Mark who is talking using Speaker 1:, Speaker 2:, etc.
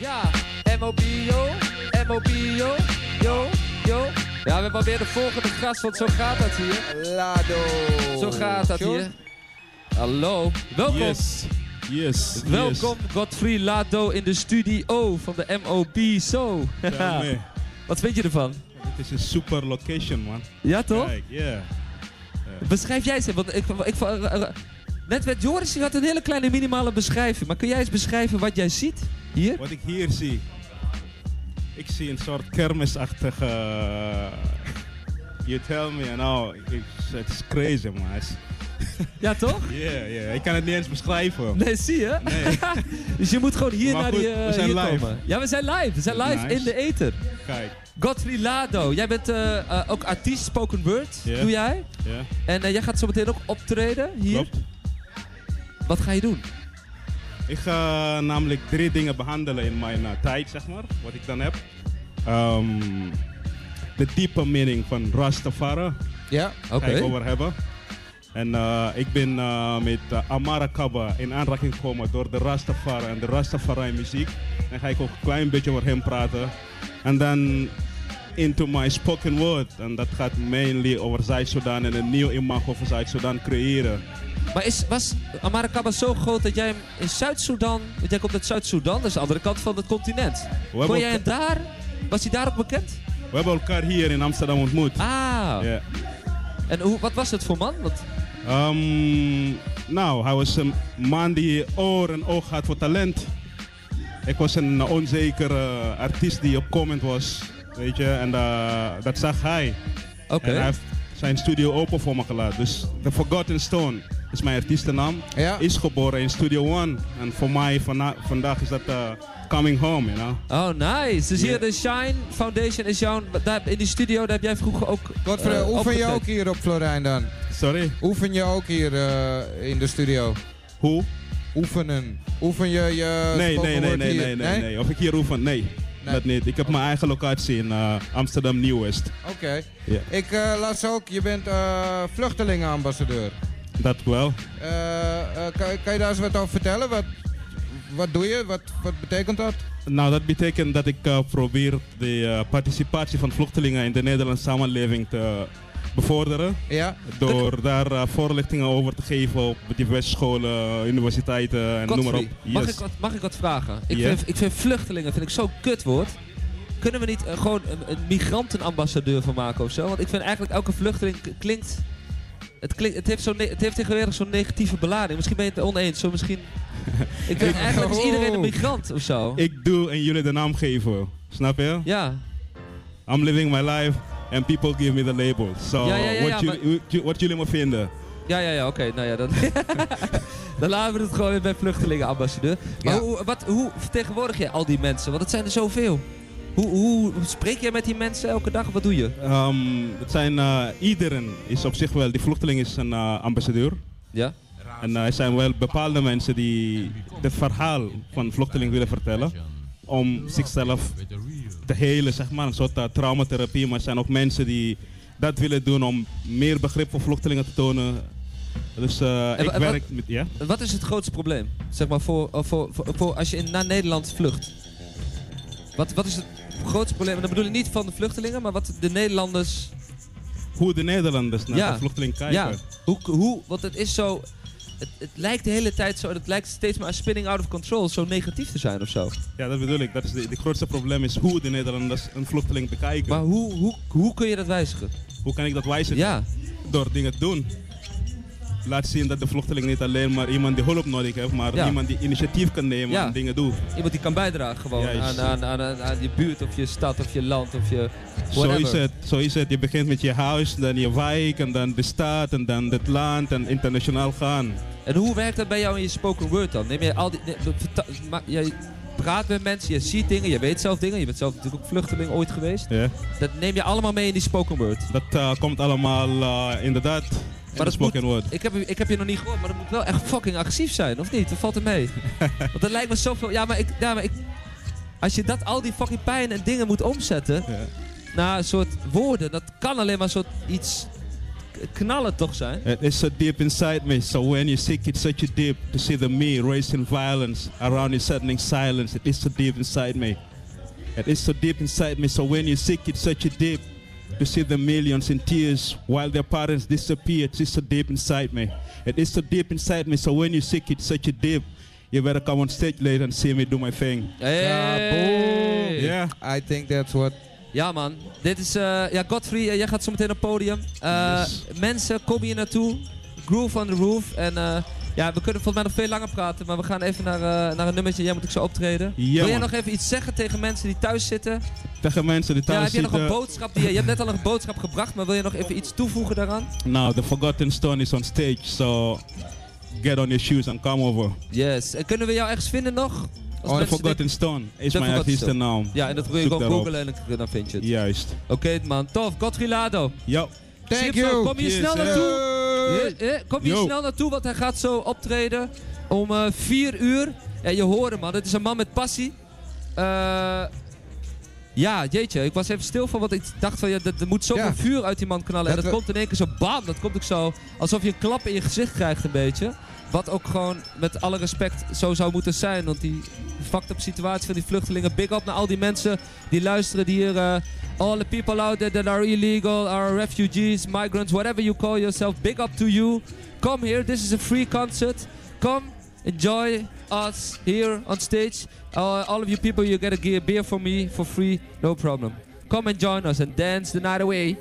Speaker 1: Ja, MOBO, MOBO, yo, yo. Ja, we hebben alweer de volgende gast, want zo gaat dat hier.
Speaker 2: Lado.
Speaker 1: Zo gaat dat
Speaker 2: Sure.
Speaker 1: hier. Hallo, welkom.
Speaker 3: Oh, Yes. Yes.
Speaker 1: Welkom Godfried Lado in de studio van de MOBO.
Speaker 3: Yes. Ja, nee.
Speaker 1: Wat vind je ervan?
Speaker 3: Het is een super location, man.
Speaker 1: Ja, toch?
Speaker 3: Kijk, ja.
Speaker 1: Beschrijf jij ze, want ik... ik eh, net werd Joris, die had een hele kleine minimale beschrijving. Maar kun jij eens beschrijven wat jij ziet hier?
Speaker 3: Wat ik hier zie. Ik zie een soort kermisachtige... eh, You tell me, nou, it's, it's crazy, man. It's-
Speaker 1: Ja, toch?
Speaker 3: Yeah, yeah. Ik kan het niet eens beschrijven.
Speaker 1: Nee, zie je?
Speaker 3: Nee.
Speaker 1: Dus je moet gewoon hier
Speaker 3: Maar
Speaker 1: naar
Speaker 3: goed,
Speaker 1: die, eh,
Speaker 3: we zijn
Speaker 1: hier
Speaker 3: live.
Speaker 1: komen. Ja, we zijn live. We zijn live
Speaker 3: Nice.
Speaker 1: in de ether.
Speaker 3: Kijk,
Speaker 1: Godfrey Lado, jij bent eh, eh, ook artiest, spoken word,
Speaker 3: Ja.
Speaker 1: doe jij.
Speaker 3: ja.
Speaker 1: En eh, jij gaat zo meteen ook optreden hier.
Speaker 3: Klopt.
Speaker 1: Wat ga je doen?
Speaker 3: Ik ga namelijk drie dingen behandelen in mijn eh, tijd, zeg maar, wat ik dan heb. Ehm, de diepe meaning van Rastafari,
Speaker 2: Ja.
Speaker 1: Oké.
Speaker 3: ga ik over hebben. En eh, ik ben eh, met eh, Amara Kaba in aanraking gekomen door de Rastafari en de Rastafari muziek. Dan ga ik ook een klein beetje over hem praten. En dan into my spoken word. En dat gaat mainly over Zuid-Soedan en een nieuw imago voor Zuid-Soedan creëren.
Speaker 1: Maar is, was Amara Kaba zo groot dat jij hem in Zuid-Soedan... Want jij komt uit Zuid-Soedan, dat is de andere kant van het continent.
Speaker 3: We
Speaker 1: Kon
Speaker 3: hebben,
Speaker 1: jij hem daar... Was hij daar ook bekend?
Speaker 3: we hebben elkaar hier in Amsterdam ontmoet.
Speaker 1: Ah.
Speaker 3: Ja.
Speaker 1: En hoe, wat was het voor man? Want,
Speaker 3: Ehm, nou, hij was een man die oor en oog had voor talent. Ik was een onzekere artiest die opkomend was, weet je, en eh, dat zag hij.
Speaker 1: Oké.
Speaker 3: En hij heeft zijn studio open voor me gelaten. Dus The Forgotten Stone is mijn artiestennaam.
Speaker 2: Ja.
Speaker 3: Is geboren in Studio One. En voor mij vana- vandaag is dat eh, Coming Home, you know.
Speaker 1: Oh, nice. Dus
Speaker 3: Ja.
Speaker 1: hier de Shine Foundation is jouw... Daar, in die studio, daar heb jij vroeger ook...
Speaker 2: Godfrey,
Speaker 1: eh,
Speaker 2: oefen je
Speaker 1: opgetreden.
Speaker 2: ook hier op Florijn dan?
Speaker 3: Sorry,
Speaker 2: Oefen je ook hier eh, in de studio?
Speaker 3: hoe?
Speaker 2: Oefenen. Oefen je je
Speaker 3: Nee,
Speaker 2: spoken
Speaker 3: nee, nee,
Speaker 2: word
Speaker 3: nee,
Speaker 2: hier?
Speaker 3: nee, nee, nee. Of ik hier oefen? Nee,
Speaker 2: Nee.
Speaker 3: dat niet. Ik heb mijn eigen locatie in eh, Amsterdam Nieuw-West.
Speaker 2: Oké.
Speaker 3: Ja.
Speaker 2: Ik eh, las ook, je bent eh, vluchtelingenambassadeur.
Speaker 3: Dat wel.
Speaker 2: Eh, eh, kan, kan je daar eens wat over vertellen? Wat, wat doe je? Wat, wat betekent dat?
Speaker 3: Nou, dat betekent dat ik eh, probeer de eh, participatie van vluchtelingen in de Nederlandse samenleving te bevorderen.
Speaker 2: Ja?
Speaker 3: Door daar eh, voorlichtingen over te geven op diverse scholen, universiteiten en noem maar
Speaker 1: Godfrey,
Speaker 3: op.
Speaker 1: mag,
Speaker 3: Yes.
Speaker 1: ik wat, mag ik wat vragen? Ik,
Speaker 3: Ja.
Speaker 1: vind, ik vind vluchtelingen vind ik zo'n kutwoord. Kunnen we niet eh, gewoon een, een migrantenambassadeur van maken of zo? Want ik vind eigenlijk elke vluchteling k- klinkt... Het, klinkt, het, heeft, zo ne- het heeft tegenwoordig zo'n negatieve belading. Misschien ben je het oneens. Zo misschien... Ik vind eigenlijk is iedereen een migrant of zo.
Speaker 3: Oh. Ik doe en jullie de naam geven. Snap je?
Speaker 1: Ja.
Speaker 3: I'm living my life and people give me the label. So,
Speaker 1: Ja, ja, ja,
Speaker 3: wat,
Speaker 1: ja,
Speaker 3: jullie, wat ju- wat jullie me vinden.
Speaker 1: Ja, ja, ja, oké. Nou ja, dan, dan laten we het gewoon weer bij vluchtelingenambassadeur. Maar
Speaker 2: Ja.
Speaker 1: hoe, wat, hoe vertegenwoordig jij al die mensen? Want het zijn er zoveel. Hoe, hoe spreek jij met die mensen elke dag? Wat doe je?
Speaker 3: Ehm, het zijn, eh, iedereen is op zich wel, die vluchteling is een eh, ambassadeur.
Speaker 1: Ja?
Speaker 3: En eh, er zijn wel bepaalde mensen die het verhaal van vluchtelingen willen vertellen. Om zichzelf te helen, zeg maar. Een soort eh, traumatherapie. Maar er zijn ook mensen die dat willen doen om meer begrip voor vluchtelingen te tonen. Dus eh,
Speaker 1: En
Speaker 3: ik
Speaker 1: wa- en
Speaker 3: werk met... Ja?
Speaker 1: Wat is het grootste probleem? Zeg maar voor, eh, voor, voor, voor als je in, naar Nederland vlucht. Wat, wat is het grootste probleem? En dan bedoel ik niet van de vluchtelingen, maar wat de Nederlanders.
Speaker 3: Hoe de Nederlanders naar
Speaker 1: Ja.
Speaker 3: de vluchteling
Speaker 1: ja,
Speaker 3: kijken.
Speaker 1: hoe, hoe, want het is zo. Het, het lijkt de hele tijd zo, en het lijkt steeds maar spinning out of control, zo negatief te zijn of zo.
Speaker 3: Ja, dat bedoel ik. Dat is de, de grootste probleem is hoe de Nederlanders een vluchteling bekijken.
Speaker 1: Maar hoe, hoe, hoe kun je dat wijzigen?
Speaker 3: Hoe kan ik dat wijzen?
Speaker 1: Ja,
Speaker 3: door dingen te doen. Laat zien dat de vluchteling niet alleen maar iemand die hulp nodig heeft, maar
Speaker 1: Ja.
Speaker 3: iemand die initiatief kan nemen
Speaker 1: Ja.
Speaker 3: en dingen doet.
Speaker 1: iemand die kan bijdragen gewoon aan,
Speaker 3: Juist.
Speaker 1: aan, aan, aan, aan je buurt of je stad of je land of je.
Speaker 3: Zo
Speaker 1: whatever.
Speaker 3: is, het, zo is het. Je begint met je huis, dan je wijk, en dan de stad, en dan het land, en internationaal gaan.
Speaker 1: En hoe werkt dat bij jou in je spoken word dan? Neem je al die, ne- verta- ma- jij praat met mensen, je ziet dingen, je weet zelf dingen. Je bent zelf natuurlijk ook vluchteling ooit geweest.
Speaker 3: Ja.
Speaker 1: Dat neem je allemaal mee in die spoken word.
Speaker 3: Dat eh, komt allemaal eh, inderdaad in
Speaker 1: dat
Speaker 3: de spoken word.
Speaker 1: Ik heb, ik heb je nog niet gehoord, maar dat moet wel echt fucking agressief zijn, of niet? Dat valt er mee. Want dat lijkt me zoveel... Ja, maar ik... Ja, maar ik als je dat, al die fucking pijn en dingen moet omzetten
Speaker 3: Ja.
Speaker 1: naar een soort woorden, dat kan alleen maar een soort iets knallen toch zijn.
Speaker 3: Uh, It's so deep inside me. So when you seek it such a deep to see the me raising violence around you suddening silence, it is so deep inside me. It is so deep inside me. So when you seek it such a deep to see the millions in tears while their parents disappear, it is so deep inside me. It is so deep inside me. So when you seek it such a deep, you better come on stage later and see me do my thing.
Speaker 1: Hey.
Speaker 2: boom.
Speaker 3: Yeah.
Speaker 2: I think that's what.
Speaker 1: Ja man, dit is... eh, ja, Godfrey, eh, jij gaat zo meteen op het podium. Eh,
Speaker 3: Nice.
Speaker 1: Mensen, kom hier naartoe. Groove on the roof. En eh, ja, we kunnen volgens mij nog veel langer praten, maar we gaan even naar, eh, naar een nummertje. Jij moet ik zo optreden.
Speaker 3: Ja,
Speaker 1: Wil jij
Speaker 3: man.
Speaker 1: nog even iets zeggen tegen mensen die thuis zitten?
Speaker 3: Tegen mensen die
Speaker 1: ja,
Speaker 3: thuis
Speaker 1: heb je nog een
Speaker 3: zitten,
Speaker 1: boodschap? Die, je hebt net al een boodschap gebracht, maar wil je nog even iets toevoegen daaraan?
Speaker 3: Now the forgotten stone is on stage, so get on your shoes and come over.
Speaker 1: Yes. En kunnen we jou ergens vinden nog? Als
Speaker 3: the
Speaker 1: mensen
Speaker 3: forgotten
Speaker 1: dit-
Speaker 3: stone is
Speaker 1: The
Speaker 3: my
Speaker 1: Forgotten
Speaker 3: artiesten naam.
Speaker 1: Ja, en dat wil je
Speaker 3: Zoek
Speaker 1: gewoon
Speaker 3: daarop.
Speaker 1: googlen en dan- dan vind je het.
Speaker 3: Juist.
Speaker 1: Oké man, tof. Godfrey Lado.
Speaker 3: Yo.
Speaker 2: Thank
Speaker 1: Sipso,
Speaker 2: you.
Speaker 1: Kom hier
Speaker 3: Yes,
Speaker 1: snel
Speaker 3: hè.
Speaker 1: naartoe. Eh, eh, Kom hier
Speaker 3: Yo.
Speaker 1: snel naartoe, want hij gaat zo optreden om eh 4 uur. En je hoort hem man, het is een man met passie. Eh, ja, jeetje, ik was even stil van, want ik dacht van, ja, dat- er moet zoveel
Speaker 2: Ja.
Speaker 1: vuur uit die man knallen. en
Speaker 2: Dat
Speaker 1: dat
Speaker 2: we-
Speaker 1: komt in één keer zo bam, dat komt ook zo, alsof je een klap in je gezicht krijgt een beetje. Wat ook gewoon met alle respect zo zou moeten zijn. Want die fucked up situatie van die vluchtelingen. Big up naar al die mensen die luisteren. Die hier. eh, all the people out there that are illegal, are refugees, migrants, whatever you call yourself. Big up to you. Come here. This is a free concert. Come enjoy us here on stage. Uh, all of you people, you get a ge- beer for me for free. No problem. Come and join us and dance the night away.